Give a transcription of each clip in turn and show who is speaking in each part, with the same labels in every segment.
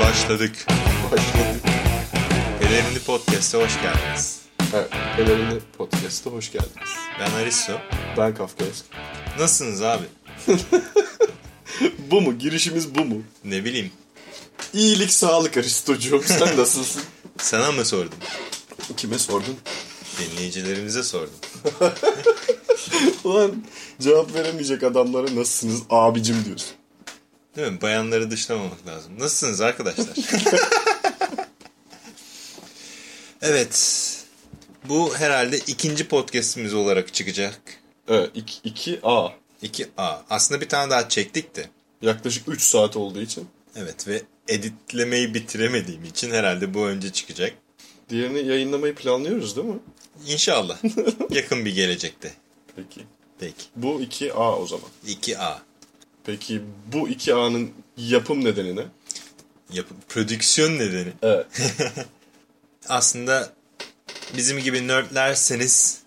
Speaker 1: Başladık.
Speaker 2: Başladık.
Speaker 1: Pelerini Podcast'a hoş geldiniz.
Speaker 2: Evet, Önemli Podcast'a hoş geldiniz.
Speaker 1: Ben Aristo.
Speaker 2: Ben Kafkaesk.
Speaker 1: Nasılsınız abi?
Speaker 2: bu mu? Girişimiz bu mu?
Speaker 1: Ne bileyim.
Speaker 2: İyilik, sağlık Aristocuğum. Sen nasılsın?
Speaker 1: Sana mı sordum?
Speaker 2: Kime sordun?
Speaker 1: Dinleyicilerimize sordum.
Speaker 2: Ulan cevap veremeyecek adamlara nasılsınız abicim diyorsun.
Speaker 1: Değil mi? Bayanları dışlamamak lazım. Nasılsınız arkadaşlar? evet. Bu herhalde ikinci podcast'imiz olarak çıkacak.
Speaker 2: Evet, 2A.
Speaker 1: 2A. Aslında bir tane daha çektik de.
Speaker 2: Yaklaşık 3 saat olduğu için.
Speaker 1: Evet ve editlemeyi bitiremediğim için herhalde bu önce çıkacak.
Speaker 2: Diğerini yayınlamayı planlıyoruz değil mi?
Speaker 1: İnşallah. Yakın bir gelecekte.
Speaker 2: Peki.
Speaker 1: Peki.
Speaker 2: Bu 2A o zaman.
Speaker 1: 2A.
Speaker 2: Peki bu 2A'nın yapım nedeni ne?
Speaker 1: Yapı, prodüksiyon nedeni.
Speaker 2: Evet.
Speaker 1: Aslında bizim gibi nerdlerseniz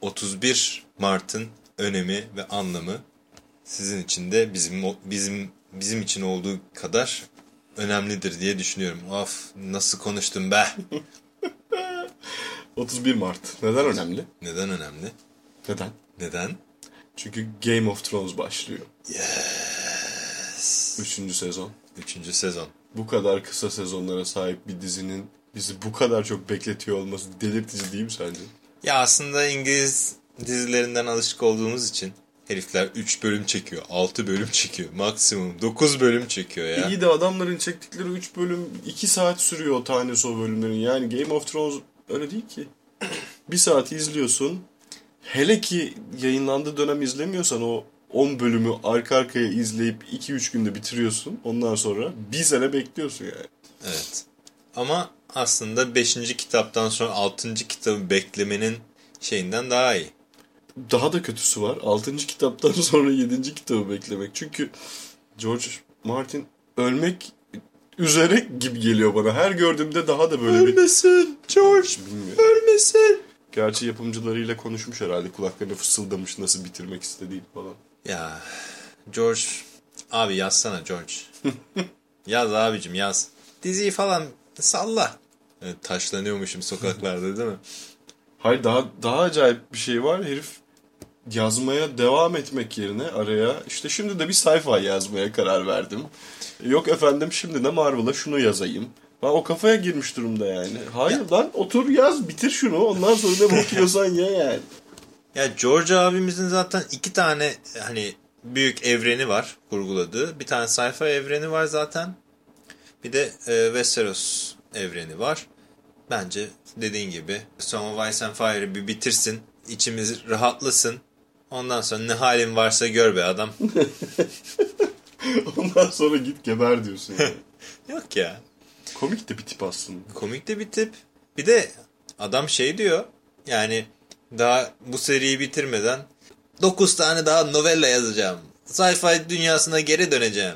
Speaker 1: 31 Mart'ın önemi ve anlamı sizin için de bizim o- bizim bizim için olduğu kadar önemlidir diye düşünüyorum. Of nasıl konuştum be.
Speaker 2: 31 Mart. Neden önemli?
Speaker 1: Neden önemli?
Speaker 2: Neden?
Speaker 1: Neden?
Speaker 2: Çünkü Game of Thrones başlıyor. Yes. Üçüncü sezon.
Speaker 1: Üçüncü sezon.
Speaker 2: Bu kadar kısa sezonlara sahip bir dizinin bizi bu kadar çok bekletiyor olması delirtici değil mi sence?
Speaker 1: Ya aslında İngiliz dizilerinden alışık olduğumuz için herifler 3 bölüm çekiyor, 6 bölüm çekiyor, maksimum 9 bölüm çekiyor ya.
Speaker 2: İyi de adamların çektikleri 3 bölüm 2 saat sürüyor o tanesi o bölümlerin. Yani Game of Thrones öyle değil ki. bir saati izliyorsun. Hele ki yayınlandığı dönem izlemiyorsan o 10 bölümü arka arkaya izleyip 2-3 günde bitiriyorsun. Ondan sonra bir sene bekliyorsun yani.
Speaker 1: Evet. Ama aslında 5. kitaptan sonra 6. kitabı beklemenin şeyinden daha iyi.
Speaker 2: daha da kötüsü var. 6. kitaptan sonra 7. kitabı beklemek. Çünkü George Martin ölmek üzere gibi geliyor bana. Her gördüğümde daha da böyle bir...
Speaker 1: Ölmesin George,
Speaker 2: Bilmiyorum.
Speaker 1: ölmesin.
Speaker 2: Gerçi yapımcılarıyla konuşmuş herhalde. Kulaklarına fısıldamış nasıl bitirmek istediğini falan.
Speaker 1: Ya George, abi yazsana George. yaz abicim yaz. Diziyi falan salla. Evet, taşlanıyormuşum sokaklarda değil mi?
Speaker 2: Hayır daha daha acayip bir şey var. Herif yazmaya devam etmek yerine araya işte şimdi de bir sayfa yazmaya karar verdim. Yok efendim şimdi de Marvel'a şunu yazayım. Ben o kafaya girmiş durumda yani. Hayır lan otur yaz bitir şunu ondan sonra ne bakıyorsan ya yani.
Speaker 1: Ya George abimizin zaten iki tane hani büyük evreni var kurguladığı. Bir tane sayfa evreni var zaten. Bir de e, Westeros evreni var. Bence dediğin gibi Song of Ice and Fire'ı bir bitirsin. içimiz rahatlasın. Ondan sonra ne halin varsa gör be adam.
Speaker 2: Ondan sonra git geber diyorsun yani.
Speaker 1: Yok ya.
Speaker 2: Komik de bir tip aslında.
Speaker 1: Komik de bir tip. Bir de adam şey diyor. Yani daha bu seriyi bitirmeden 9 tane daha novella yazacağım. Sci-fi dünyasına geri döneceğim.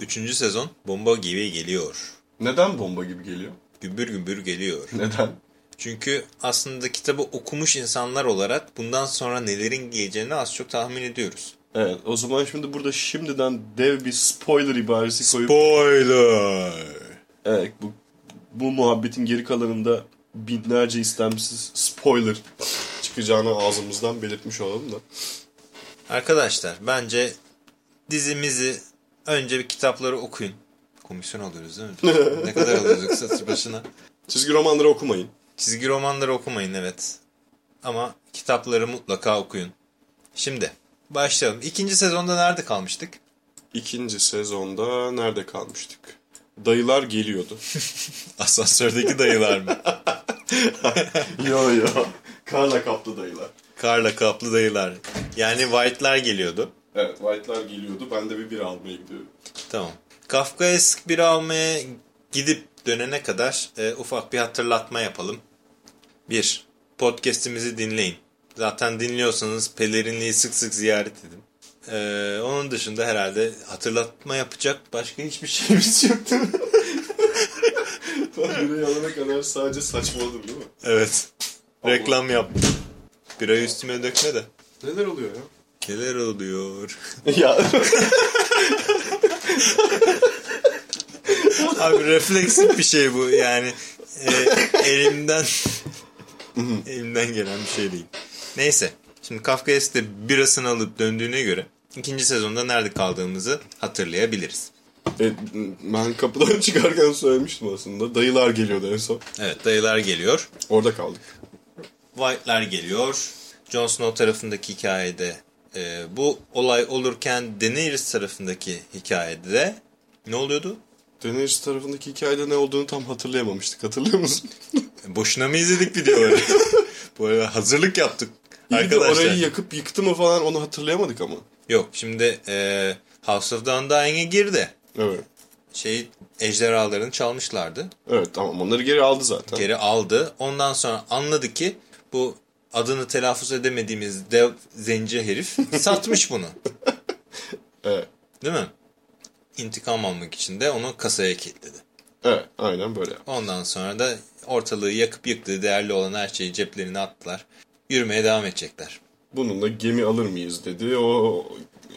Speaker 1: Üçüncü sezon bomba gibi geliyor.
Speaker 2: Neden bomba gibi geliyor?
Speaker 1: Gümbür gümbür geliyor.
Speaker 2: Neden?
Speaker 1: Çünkü aslında kitabı okumuş insanlar olarak bundan sonra nelerin geleceğini az çok tahmin ediyoruz.
Speaker 2: Evet o zaman şimdi burada şimdiden dev bir spoiler ibaresi koyup
Speaker 1: Spoiler!
Speaker 2: Evet bu, bu muhabbetin geri kalanında binlerce istemsiz spoiler çıkacağını ağzımızdan belirtmiş olalım da.
Speaker 1: Arkadaşlar bence dizimizi önce bir kitapları okuyun. Komisyon alıyoruz değil mi? ne kadar alıyoruz yoksa başına?
Speaker 2: Çizgi romanları okumayın.
Speaker 1: Çizgi romanları okumayın evet. Ama kitapları mutlaka okuyun. Şimdi başlayalım. İkinci sezonda nerede kalmıştık?
Speaker 2: İkinci sezonda nerede kalmıştık? Dayılar geliyordu.
Speaker 1: Asansördeki dayılar mı?
Speaker 2: yo yo. Karla kaplı dayılar.
Speaker 1: Karla kaplı dayılar. Yani White'lar geliyordu.
Speaker 2: Evet White'lar geliyordu. Ben de bir bira almaya gidiyorum.
Speaker 1: Tamam. Kafkaesk bir almaya gidip dönene kadar e, ufak bir hatırlatma yapalım. 1. Podcast'imizi dinleyin. Zaten dinliyorsanız Pelerinli'yi sık sık ziyaret edin. E, onun dışında herhalde hatırlatma yapacak başka hiçbir şeyimiz yok değil mi?
Speaker 2: Ben birayı alana kadar sadece saçmaladım değil mi?
Speaker 1: Evet. Reklam yap. Birayı üstüme dökme de.
Speaker 2: Neler oluyor ya?
Speaker 1: Neler oluyor?
Speaker 2: Ya.
Speaker 1: Abi refleksif bir şey bu yani. E, elimden elimden gelen bir şey değil. Neyse. Şimdi Kafkaes'te birasını alıp döndüğüne göre ikinci sezonda nerede kaldığımızı hatırlayabiliriz.
Speaker 2: E, ben kapıdan çıkarken söylemiştim aslında. Dayılar geliyordu en son.
Speaker 1: Evet dayılar geliyor.
Speaker 2: Orada kaldık.
Speaker 1: White'lar geliyor. Jon Snow tarafındaki hikayede e, bu olay olurken Daenerys tarafındaki hikayede de ne oluyordu?
Speaker 2: Daenerys tarafındaki hikayede ne olduğunu tam hatırlayamamıştık. Hatırlıyor musun?
Speaker 1: Boşuna mı izledik videoları? bu arada hazırlık yaptık.
Speaker 2: İyi de
Speaker 1: Arkadaşlar.
Speaker 2: orayı yakıp yıktı mı falan onu hatırlayamadık ama.
Speaker 1: Yok şimdi e, House of the Undying'e girdi.
Speaker 2: Evet.
Speaker 1: Şey ejderhalarını çalmışlardı.
Speaker 2: Evet tamam onları geri aldı zaten.
Speaker 1: Geri aldı. Ondan sonra anladı ki bu adını telaffuz edemediğimiz dev zenci herif satmış bunu.
Speaker 2: Evet.
Speaker 1: Değil mi? İntikam almak için de onu kasaya kilitledi.
Speaker 2: Evet aynen böyle.
Speaker 1: Ondan sonra da ortalığı yakıp yıktığı değerli olan her şeyi ceplerine attılar. Yürümeye devam edecekler.
Speaker 2: Bununla gemi alır mıyız dedi. O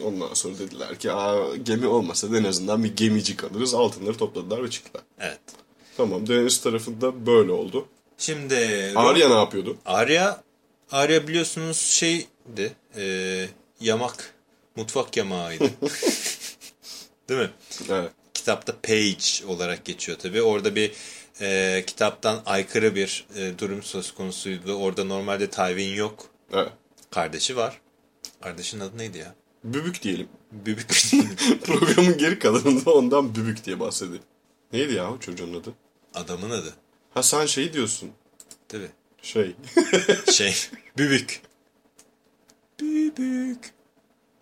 Speaker 2: Ondan sonra dediler ki Aa, gemi olmasa da en azından bir gemicik alırız. Altınları topladılar ve çıktılar.
Speaker 1: Evet.
Speaker 2: Tamam Daenerys tarafında böyle oldu.
Speaker 1: Şimdi
Speaker 2: Arya ne yapıyordu?
Speaker 1: Arya, Arya biliyorsunuz şeydi. e, yamak. Mutfak yamağıydı. Değil mi?
Speaker 2: Evet.
Speaker 1: Kitapta page olarak geçiyor tabii. Orada bir e, kitaptan aykırı bir e, durum söz konusuydu. Orada normalde Tywin yok.
Speaker 2: evet.
Speaker 1: Kardeşi var. Kardeşinin adı neydi ya?
Speaker 2: Bübük diyelim.
Speaker 1: Bübük.
Speaker 2: Programın geri kalanında ondan bübük diye bahsediyor. Neydi ya o çocuğun adı?
Speaker 1: Adamın adı.
Speaker 2: Ha sen şey diyorsun.
Speaker 1: Tabii.
Speaker 2: Şey.
Speaker 1: Şey. Bübük. Bübük.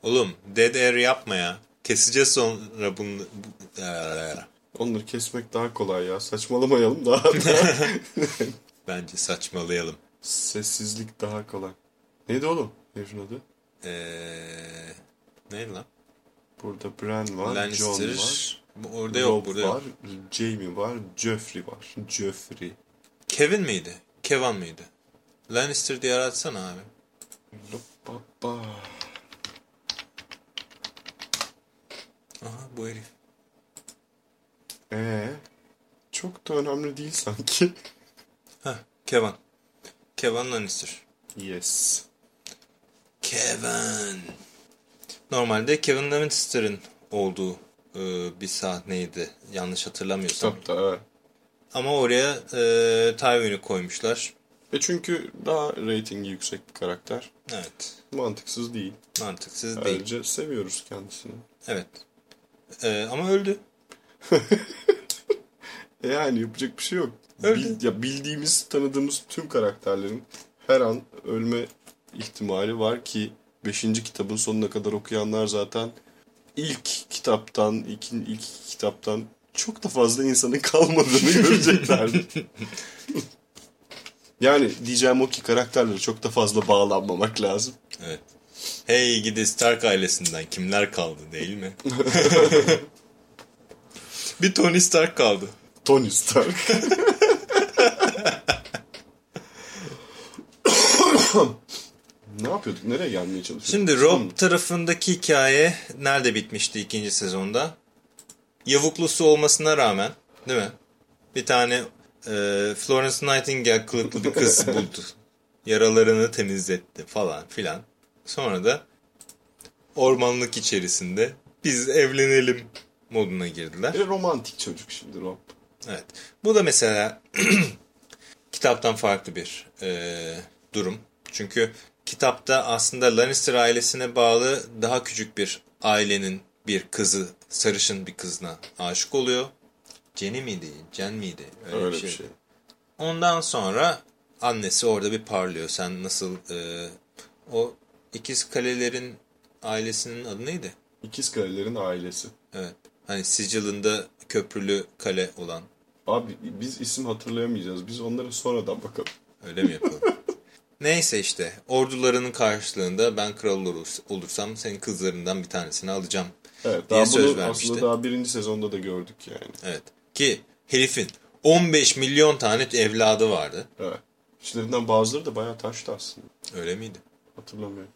Speaker 1: Oğlum dead air yapma ya. Keseceğiz sonra bunu. bu- Eee,
Speaker 2: Onları kesmek daha kolay ya. Saçmalamayalım daha.
Speaker 1: Bence saçmalayalım.
Speaker 2: Sessizlik daha kolay. Neydi oğlum? Herifin adı.
Speaker 1: Eee Ee, neydi lan?
Speaker 2: Burada Bran var, John
Speaker 1: Lannister.
Speaker 2: var,
Speaker 1: Bu- Orada yok
Speaker 2: Rob
Speaker 1: burada
Speaker 2: var,
Speaker 1: yok.
Speaker 2: Jamie var, Joffrey var. Joffrey.
Speaker 1: Kevin miydi? Kevan mıydı? Lannister diye aratsana abi.
Speaker 2: Lopapa.
Speaker 1: Aha bu herif.
Speaker 2: Ee, çok da önemli değil sanki.
Speaker 1: Heh Kevan. Kevan Lannister.
Speaker 2: Yes.
Speaker 1: Kevin. Normalde Kevin Lannister'ın olduğu e, bir sahneydi. Yanlış hatırlamıyorsam.
Speaker 2: Kitapta evet.
Speaker 1: Ama oraya e, Tywin'i koymuşlar.
Speaker 2: E çünkü daha reytingi yüksek bir karakter.
Speaker 1: Evet.
Speaker 2: Mantıksız değil.
Speaker 1: Mantıksız değil.
Speaker 2: Ayrıca seviyoruz kendisini.
Speaker 1: Evet. E, ama öldü.
Speaker 2: E yani yapacak bir şey yok.
Speaker 1: Öyle.
Speaker 2: Bil- ya bildiğimiz, tanıdığımız tüm karakterlerin her an ölme ihtimali var ki 5. kitabın sonuna kadar okuyanlar zaten ilk kitaptan, ikin, ilk iki kitaptan çok da fazla insanın kalmadığını göreceklerdi. yani diyeceğim o ki karakterlere çok da fazla bağlanmamak lazım.
Speaker 1: Evet. Hey gidi Stark ailesinden kimler kaldı değil mi? bir Tony Stark kaldı.
Speaker 2: Tony Stark. ne yapıyorduk? Nereye gelmeye çalışıyorduk?
Speaker 1: Şimdi Rob tarafındaki hikaye nerede bitmişti ikinci sezonda? Yavuklusu olmasına rağmen değil mi? Bir tane e, Florence Nightingale kılıklı bir kız buldu. Yaralarını temizletti falan filan. Sonra da ormanlık içerisinde biz evlenelim moduna girdiler.
Speaker 2: E, romantik çocuk şimdi Rob.
Speaker 1: Evet. Bu da mesela kitaptan farklı bir e, durum. Çünkü kitapta aslında Lannister ailesine bağlı daha küçük bir ailenin bir kızı, sarışın bir kızına aşık oluyor. Jenny miydi? Jen miydi?
Speaker 2: Öyle, bir şey.
Speaker 1: Ondan sonra annesi orada bir parlıyor. Sen nasıl e, o ikiz kalelerin ailesinin adı neydi?
Speaker 2: İkiz kalelerin ailesi.
Speaker 1: Evet. Hani Sicilya'nda köprülü kale olan
Speaker 2: Abi biz isim hatırlayamayacağız. Biz onlara sonradan bakalım.
Speaker 1: Öyle mi yapalım? Neyse işte ordularının karşılığında ben kral olur- olursam senin kızlarından bir tanesini alacağım.
Speaker 2: Evet,
Speaker 1: Diye
Speaker 2: daha
Speaker 1: söz
Speaker 2: bunu
Speaker 1: vermişti.
Speaker 2: aslında daha birinci sezonda da gördük yani.
Speaker 1: Evet. Ki herifin 15 milyon tane evladı vardı.
Speaker 2: Evet. İçlerinden bazıları da bayağı taştı aslında.
Speaker 1: Öyle miydi?
Speaker 2: Hatırlamıyorum.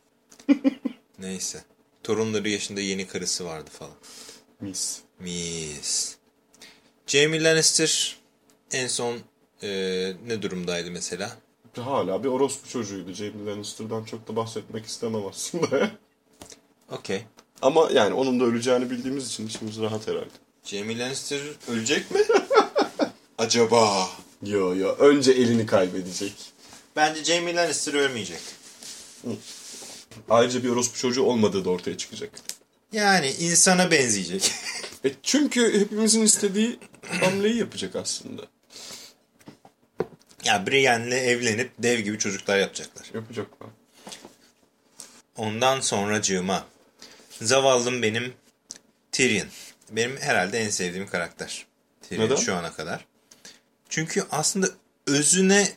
Speaker 1: Neyse. Torunları yaşında yeni karısı vardı falan.
Speaker 2: Mis.
Speaker 1: Mis. Jamie Lannister en son e, ne durumdaydı mesela?
Speaker 2: Hala bir orospu çocuğuydu. Jamie Lannister'dan çok da bahsetmek istemem aslında.
Speaker 1: Okey.
Speaker 2: Ama yani onun da öleceğini bildiğimiz için içimiz rahat herhalde.
Speaker 1: Jamie Lannister ölecek mi? Acaba?
Speaker 2: Yo yo. Önce elini kaybedecek.
Speaker 1: Bence Jamie Lannister ölmeyecek.
Speaker 2: Ayrıca bir orospu çocuğu olmadığı da ortaya çıkacak.
Speaker 1: Yani insana benzeyecek.
Speaker 2: E çünkü hepimizin istediği hamleyi yapacak aslında.
Speaker 1: ya Brienne'le evlenip dev gibi çocuklar yapacaklar.
Speaker 2: Yapacak mı?
Speaker 1: Ondan sonra cığıma. Zavallım benim Tyrion. Benim herhalde en sevdiğim karakter. Tyrion
Speaker 2: Neden?
Speaker 1: şu ana kadar. Çünkü aslında özüne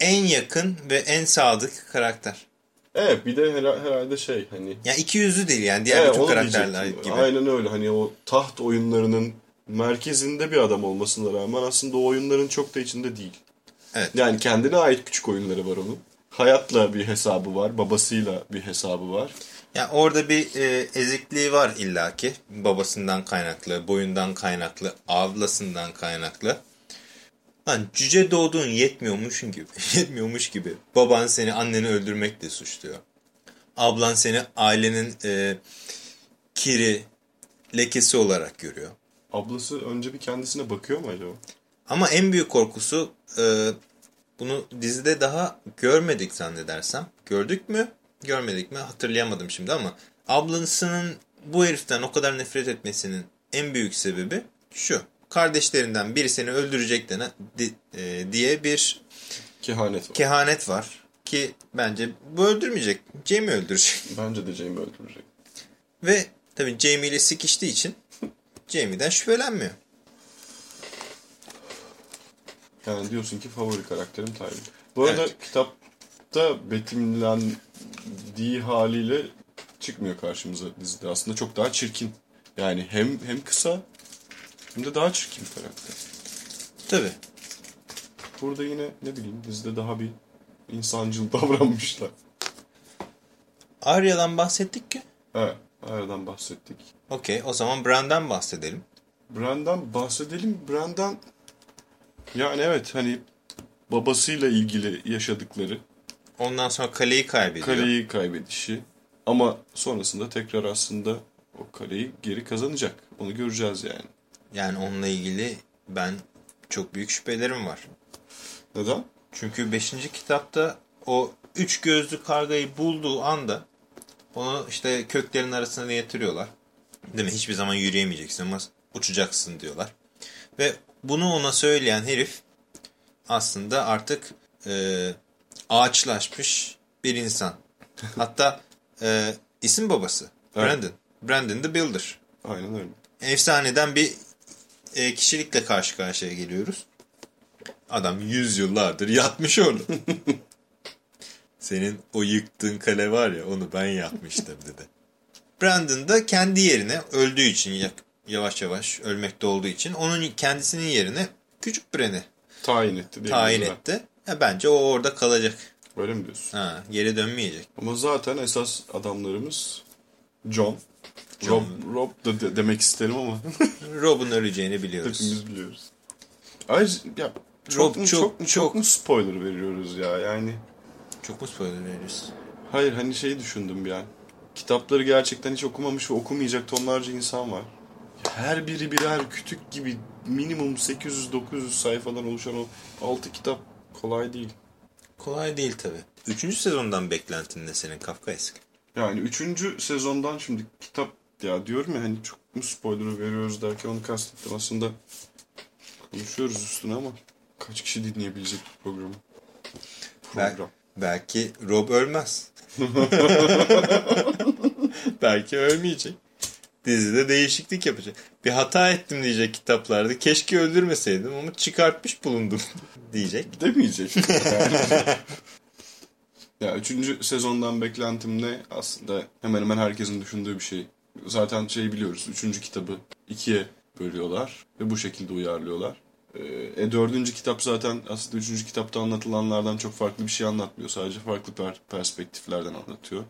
Speaker 1: en yakın ve en sadık karakter.
Speaker 2: Evet E, bir de hera- herhalde şey hani
Speaker 1: Ya iki yüzlü değil yani diğer
Speaker 2: Evet,
Speaker 1: bütün
Speaker 2: onu
Speaker 1: karakterler
Speaker 2: diyecektim.
Speaker 1: gibi.
Speaker 2: Aynen öyle. Hani o taht oyunlarının merkezinde bir adam olmasına rağmen aslında o oyunların çok da içinde değil.
Speaker 1: Evet.
Speaker 2: Yani kendine ait küçük oyunları var onun. Hayatla bir hesabı var. Babasıyla bir hesabı var.
Speaker 1: Ya orada bir e, ezikliği var illaki. Babasından kaynaklı, boyundan kaynaklı, ablasından kaynaklı. Lan cüce doğduğun yetmiyormuşun gibi, yetmiyormuş gibi. Baban seni anneni öldürmekle suçluyor. Ablan seni ailenin e, kiri, lekesi olarak görüyor.
Speaker 2: Ablası önce bir kendisine bakıyor mu acaba?
Speaker 1: Ama en büyük korkusu e, bunu dizide daha görmedik zannedersem. Gördük mü? Görmedik mi? Hatırlayamadım şimdi ama ablasının bu heriften o kadar nefret etmesinin en büyük sebebi şu. Kardeşlerinden biri seni öldürecek dene, di- e, diye bir
Speaker 2: Kehanet var.
Speaker 1: kehanet var. Ki bence bu öldürmeyecek. Jamie öldürecek.
Speaker 2: Bence de Jamie öldürecek.
Speaker 1: Ve tabii Jamie ile sikiştiği için Jamie'den şüphelenmiyor.
Speaker 2: Yani diyorsun ki favori karakterim Tywin. Bu arada kitapta betimlendiği haliyle çıkmıyor karşımıza dizide. Aslında çok daha çirkin. Yani hem hem kısa hem de daha çirkin bir karakter.
Speaker 1: Tabii.
Speaker 2: Burada yine ne bileyim dizide daha bir insancıl davranmışlar.
Speaker 1: Arya'dan bahsettik ki.
Speaker 2: Evet. Aradan bahsettik.
Speaker 1: Okey o zaman Bran'dan bahsedelim.
Speaker 2: Brandan bahsedelim. Brandan yani evet hani babasıyla ilgili yaşadıkları
Speaker 1: Ondan sonra kaleyi kaybediyor.
Speaker 2: kaleyi kaybedişi ama sonrasında tekrar aslında o kaleyi geri kazanacak. Onu göreceğiz yani.
Speaker 1: Yani onunla ilgili ben çok büyük şüphelerim var.
Speaker 2: Neden?
Speaker 1: Çünkü 5. kitapta o üç gözlü kargayı bulduğu anda onu işte köklerin arasına yatırıyorlar. Değil mi? Hiçbir zaman yürüyemeyeceksin ama uçacaksın diyorlar. Ve bunu ona söyleyen herif aslında artık e, ağaçlaşmış bir insan. Hatta e, isim babası
Speaker 2: Evet.
Speaker 1: Brandon. Brandon the Builder.
Speaker 2: Aynen öyle.
Speaker 1: efsaneden bir e, kişilikle karşı karşıya geliyoruz. Adam yüzyıllardır yatmış orada. Senin o yıktığın kale var ya onu ben yapmıştım dedi. Brandon da kendi yerine öldüğü için ya- yavaş yavaş ölmekte olduğu için onun kendisinin yerine küçük Bren'i
Speaker 2: Tayin etti diye.
Speaker 1: tayin etti. Ya bence o orada kalacak.
Speaker 2: Öyle mi diyorsun?
Speaker 1: Ha, geri dönmeyecek.
Speaker 2: Ama zaten esas adamlarımız John.
Speaker 1: John.
Speaker 2: Rob, Rob da de- demek isterim ama
Speaker 1: Rob'un öleceğini biliyoruz.
Speaker 2: hepimiz biliyoruz. Ayrıca ya çok,
Speaker 1: Rob
Speaker 2: mu-
Speaker 1: çok-
Speaker 2: çok, mu- çok,
Speaker 1: çok-
Speaker 2: mu spoiler veriyoruz ya yani.
Speaker 1: Çok mu spoiler veriyoruz?
Speaker 2: Hayır hani şey düşündüm bir an. Kitapları gerçekten hiç okumamış ve okumayacak tonlarca insan var. Her biri birer kütük gibi minimum 800-900 sayfadan oluşan o 6 kitap kolay değil.
Speaker 1: Kolay değil tabii. Üçüncü sezondan beklentin ne senin Kafka eski?
Speaker 2: Yani 3. sezondan şimdi kitap ya diyorum ya hani çok mu spoiler veriyoruz derken onu kastettim aslında. Konuşuyoruz üstüne ama kaç kişi dinleyebilecek bu programı?
Speaker 1: Bel-
Speaker 2: Program.
Speaker 1: belki Rob ölmez. belki ölmeyecek. Dizide değişiklik yapacak. Bir hata ettim diyecek kitaplarda. Keşke öldürmeseydim ama çıkartmış bulundum diyecek.
Speaker 2: demeyecek. ya üçüncü sezondan beklentim ne? Aslında hemen hemen herkesin düşündüğü bir şey. Zaten şey biliyoruz. Üçüncü kitabı ikiye bölüyorlar ve bu şekilde uyarlıyorlar. Ee, E, dördüncü kitap zaten aslında üçüncü kitapta anlatılanlardan çok farklı bir şey anlatmıyor. Sadece farklı per- perspektiflerden anlatıyor.
Speaker 1: Ya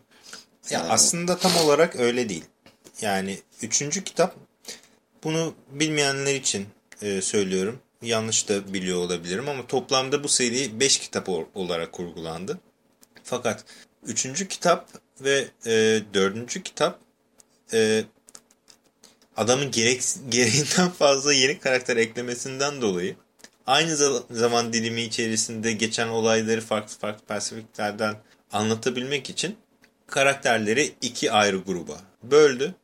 Speaker 2: Yani o-
Speaker 1: aslında tam olarak öyle değil. Yani üçüncü kitap bunu bilmeyenler için e, söylüyorum. Yanlış da biliyor olabilirim ama toplamda bu seri 5 kitap ol- olarak kurgulandı. Fakat 3. kitap ve e, 4. kitap e, adamın gerek, gereğinden fazla yeni karakter eklemesinden dolayı aynı za- zaman dilimi içerisinde geçen olayları farklı farklı perspektiflerden anlatabilmek için karakterleri iki ayrı gruba böldü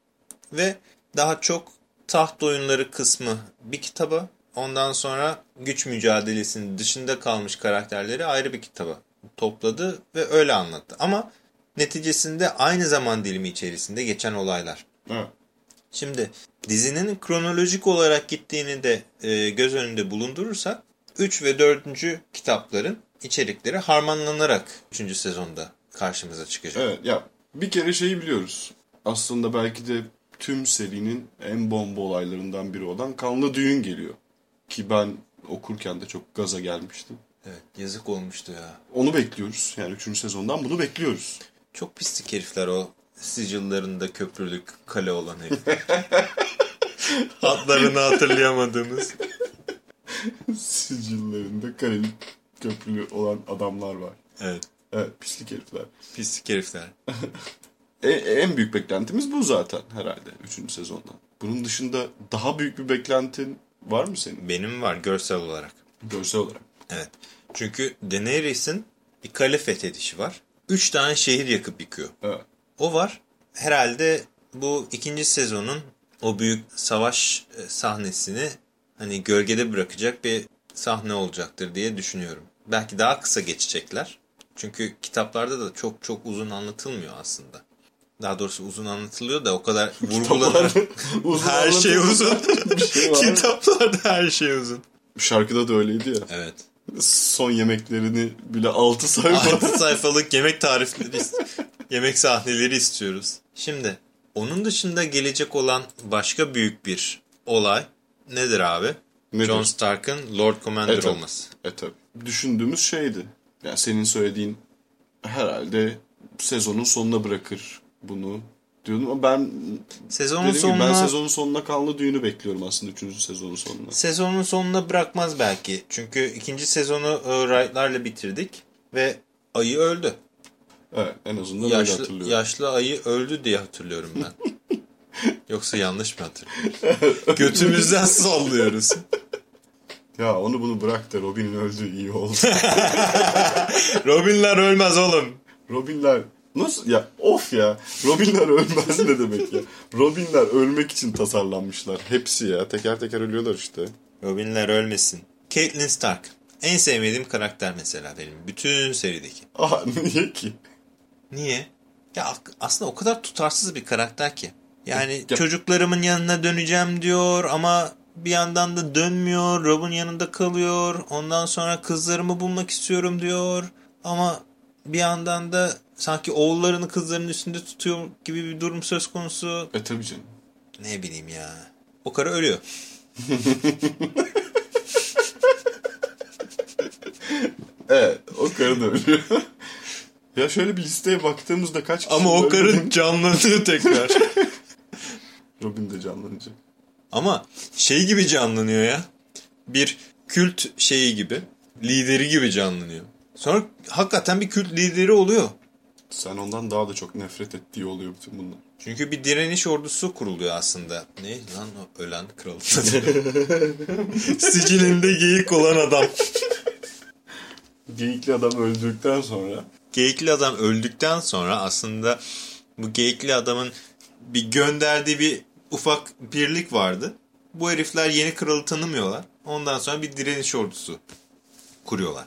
Speaker 1: ve daha çok taht oyunları kısmı bir kitaba ondan sonra güç mücadelesinin dışında kalmış karakterleri ayrı bir kitaba topladı ve öyle anlattı. Ama neticesinde aynı zaman dilimi içerisinde geçen olaylar.
Speaker 2: Ha.
Speaker 1: Şimdi dizinin kronolojik olarak gittiğini de e, göz önünde bulundurursak 3 ve 4. kitapların içerikleri harmanlanarak 3. sezonda karşımıza çıkacak.
Speaker 2: Evet ya bir kere şeyi biliyoruz. Aslında belki de tüm serinin en bomba olaylarından biri olan Kanlı Düğün geliyor. Ki ben okurken de çok gaza gelmiştim.
Speaker 1: Evet, yazık olmuştu ya.
Speaker 2: Onu bekliyoruz. Yani 3. sezondan bunu bekliyoruz.
Speaker 1: Çok pislik herifler o sicillerinde köprülük kale olan herifler. Adlarını hatırlayamadığımız.
Speaker 2: Sicillerinde kareli köprülü olan adamlar var.
Speaker 1: Evet,
Speaker 2: Evet pislik herifler.
Speaker 1: pislik herifler.
Speaker 2: E, en büyük beklentimiz bu zaten herhalde 3. sezondan. Bunun dışında daha büyük bir beklentin var mı senin
Speaker 1: Benim var görsel olarak.
Speaker 2: görsel olarak?
Speaker 1: Evet. Çünkü Daenerys'in bir kale fethedişi var. Üç tane şehir yakıp yıkıyor.
Speaker 2: Evet.
Speaker 1: O var. Herhalde bu ikinci sezonun o büyük savaş e, sahnesini hani gölgede bırakacak bir sahne olacaktır diye düşünüyorum. Belki daha kısa geçecekler. Çünkü kitaplarda da çok çok uzun anlatılmıyor aslında. Daha doğrusu uzun anlatılıyor da o kadar vurgulanan
Speaker 2: Uzun
Speaker 1: her şey
Speaker 2: anlatım-
Speaker 1: uzun.
Speaker 2: Bir şey var.
Speaker 1: Kitaplarda her şey uzun.
Speaker 2: Şarkıda da öyleydi ya.
Speaker 1: Evet.
Speaker 2: Son yemeklerini bile 6 sayfa.
Speaker 1: 6 sayfalık yemek tarifleri, ist- yemek sahneleri istiyoruz. Şimdi onun dışında gelecek olan başka büyük bir olay nedir abi?
Speaker 2: Nedir?
Speaker 1: Jon Stark'ın Lord Commander
Speaker 2: Evet, evet.
Speaker 1: olması.
Speaker 2: e tabi. Düşündüğümüz şeydi. Yani senin söylediğin herhalde sezonun sonuna bırakır bunu diyordum ama ben
Speaker 1: Sezonun
Speaker 2: dedim ki
Speaker 1: sonuna
Speaker 2: ben sezonun sonuna kanlı düğünü bekliyorum aslında 3. sezonun sonuna.
Speaker 1: sezonun sonuna bırakmaz belki. Çünkü ikinci sezonu e, Wright'larla bitirdik ve ayı öldü.
Speaker 2: Evet en azından öyle
Speaker 1: Yaşlı,
Speaker 2: hatırlıyorum.
Speaker 1: yaşlı ayı öldü diye hatırlıyorum ben. Yoksa yanlış mı hatırlıyorum? Götümüzden sallıyoruz.
Speaker 2: Ya onu bunu bırak da Robin'in öldüğü iyi oldu.
Speaker 1: Robinler ölmez oğlum.
Speaker 2: Robinler nasıl ya of ya Robinler ölmez ne demek ya. Robinler ölmek için tasarlanmışlar. Hepsi ya teker teker ölüyorlar işte.
Speaker 1: Robinler ölmesin. Catelyn Stark. En sevmediğim karakter mesela benim. Bütün serideki.
Speaker 2: Aha niye ki?
Speaker 1: Niye? Ya ak- aslında o kadar tutarsız bir karakter ki. Yani
Speaker 2: Ya-
Speaker 1: çocuklarımın yanına döneceğim diyor ama bir yandan da dönmüyor. Rob'un yanında kalıyor. Ondan sonra kızlarımı bulmak istiyorum diyor. Ama bir yandan da sanki oğullarını kızlarının üstünde tutuyor gibi bir durum söz konusu.
Speaker 2: E tabii canım.
Speaker 1: Ne bileyim ya. O karı ölüyor.
Speaker 2: Evet E, o karı da ölüyor. ya şöyle bir listeye baktığımızda kaç kişi
Speaker 1: Ama o
Speaker 2: ölmedi?
Speaker 1: karı canlanıyor tekrar.
Speaker 2: Robin de canlanacak.
Speaker 1: Ama şey gibi canlanıyor ya. Bir kült şeyi gibi. Lideri gibi canlanıyor. Sonra hakikaten bir kült lideri oluyor.
Speaker 2: Sen ondan daha da çok nefret ettiği oluyor bütün bunlar.
Speaker 1: Çünkü bir direniş ordusu kuruluyor aslında. Ne lan o ölen kral. Sicilinde geyik olan adam.
Speaker 2: Geyikli adam öldükten sonra
Speaker 1: Geyikli adam öldükten sonra aslında bu geyikli adamın bir gönderdiği bir ufak birlik vardı. Bu herifler yeni kralı tanımıyorlar. Ondan sonra bir direniş ordusu kuruyorlar.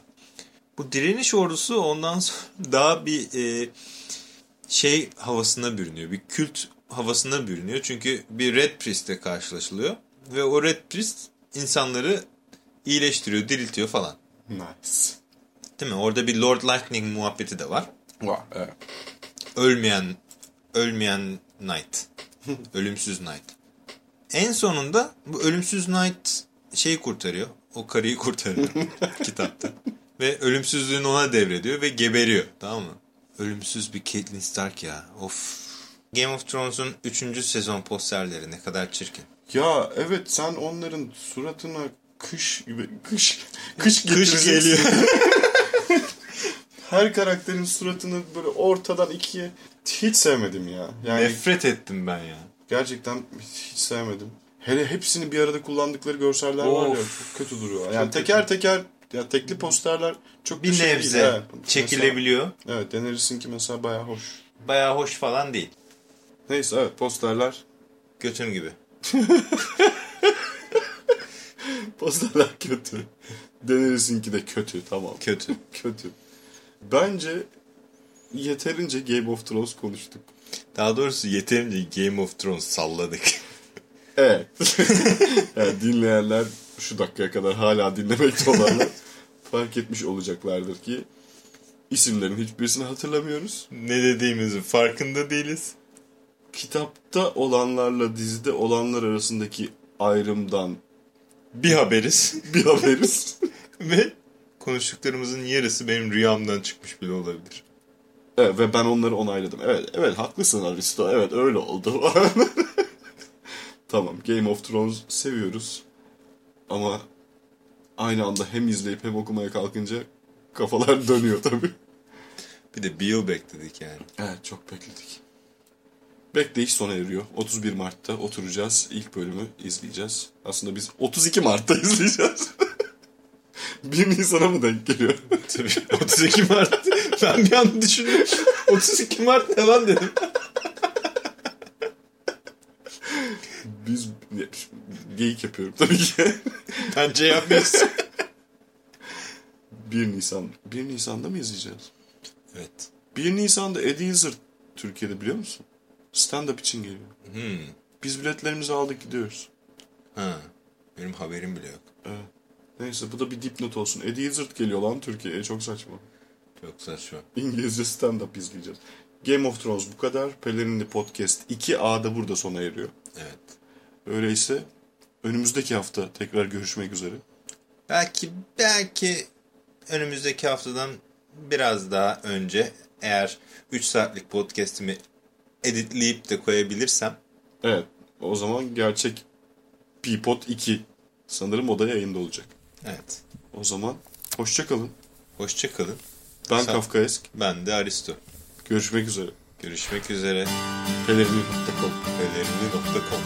Speaker 1: Bu direniş ordusu ondan sonra daha bir e, şey havasına bürünüyor. Bir kült havasına bürünüyor. Çünkü bir Red Priest'le karşılaşılıyor. Ve o Red Priest insanları iyileştiriyor, diriltiyor falan.
Speaker 2: nice.
Speaker 1: Değil mi? Orada bir Lord Lightning muhabbeti de var.
Speaker 2: Vah e. evet.
Speaker 1: Ölmeyen ölmeyen Knight. Ölümsüz Knight. En sonunda bu ölümsüz Knight şeyi kurtarıyor. O karıyı kurtarıyor kitapta. Ve ölümsüzlüğünü ona devrediyor ve geberiyor. Tamam mı? Ölümsüz bir Catelyn Stark ya. Of. Game of Thrones'un 3. sezon posterleri ne kadar çirkin.
Speaker 2: Ya evet sen onların suratına kış gibi kış kış
Speaker 1: Kış
Speaker 2: getireceksin.
Speaker 1: geliyor.
Speaker 2: Her karakterin suratını böyle ortadan ikiye hiç sevmedim ya. Yani
Speaker 1: Nefret ettim ben ya.
Speaker 2: gerçekten hiç sevmedim. Hele hepsini bir arada kullandıkları görseller var ya
Speaker 1: Of.
Speaker 2: çok kötü duruyor. Yani
Speaker 1: Çok
Speaker 2: teker teker ya tekli posterler çok
Speaker 1: Bir
Speaker 2: da şey değil,
Speaker 1: nebze
Speaker 2: evet. Mesela-
Speaker 1: çekilebiliyor.
Speaker 2: evet denerisin ki mesela bayağı hoş.
Speaker 1: Bayağı hoş falan değil.
Speaker 2: Neyse evet posterler
Speaker 1: Götüm gibi.
Speaker 2: Posterler kötü. Denerisin ki de kötü tamam.
Speaker 1: Kötü.
Speaker 2: kötü. Bence yeterince Game of Thrones konuştuk.
Speaker 1: Daha doğrusu yeterince Game of Thrones salladık.
Speaker 2: Evet. yani dinleyenler şu dakikaya kadar hala dinlemekte olanlar fark etmiş olacaklardır ki isimlerin hiçbirisini hatırlamıyoruz.
Speaker 1: ne dediğimizin farkında değiliz.
Speaker 2: Kitapta olanlarla dizide olanlar arasındaki ayrımdan
Speaker 1: Bir haberiz.
Speaker 2: bir haberiz.
Speaker 1: Ve konuştuklarımızın yarısı benim rüyamdan çıkmış bile olabilir.
Speaker 2: Evet, ve ben onları onayladım. Evet, evet haklısın Aristo. Evet öyle oldu. tamam Game of Thrones seviyoruz. Ama aynı anda hem izleyip hem okumaya kalkınca kafalar dönüyor tabii.
Speaker 1: Bir de bir yıl bekledik yani.
Speaker 2: Evet çok bekledik. Bekleyiş sona eriyor. 31 Mart'ta oturacağız. İlk bölümü izleyeceğiz. Aslında biz 32 Mart'ta izleyeceğiz. 1 Nisan'a mı denk geliyor?
Speaker 1: Tabii 32 Mart. Ben bir an düşündüm. 32 Mart ne lan dedim.
Speaker 2: Biz geyik yapıyorum tabii ki.
Speaker 1: Bence yapmayız.
Speaker 2: 1 Nisan. 1 Nisan'da mı izleyeceğiz?
Speaker 1: Evet.
Speaker 2: 1 Nisan'da Eddie Izzard Türkiye'de biliyor musun? Stand-up için geliyor.
Speaker 1: Hmm.
Speaker 2: Biz biletlerimizi aldık gidiyoruz.
Speaker 1: Ha. Benim haberim bile yok.
Speaker 2: Neyse bu da bir dipnot olsun. Eddie Izzard geliyor lan Türkiye'ye. Çok saçma.
Speaker 1: Çok saçma.
Speaker 2: İngilizce stand-up izleyeceğiz. Game of Thrones bu kadar. Pelerinli Podcast 2A'da burada sona eriyor.
Speaker 1: Evet.
Speaker 2: Öyleyse önümüzdeki hafta tekrar görüşmek üzere.
Speaker 1: Belki belki önümüzdeki haftadan biraz daha önce eğer 3 saatlik podcast'imi editleyip de koyabilirsem
Speaker 2: Evet o zaman gerçek Peapod 2 sanırım o da yayında olacak.
Speaker 1: evet.
Speaker 2: O zaman hoşçakalın.
Speaker 1: Hoşçakalın.
Speaker 2: Ben
Speaker 1: Sa-
Speaker 2: Kafkaesk.
Speaker 1: Ben de Aristo.
Speaker 2: Görüşmek üzere.
Speaker 1: Görüşmek üzere.
Speaker 2: Pelerinli.com
Speaker 1: Önerimli.com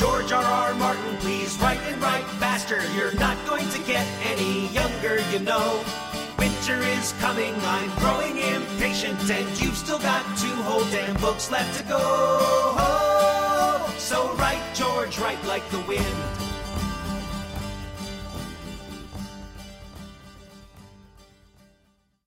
Speaker 3: George R. R. Martin, please write and write faster. You're not going to get any younger, you know. Winter is coming, I'm growing impatient, and you've still got two whole damn books left to go. So write, George, write like the wind.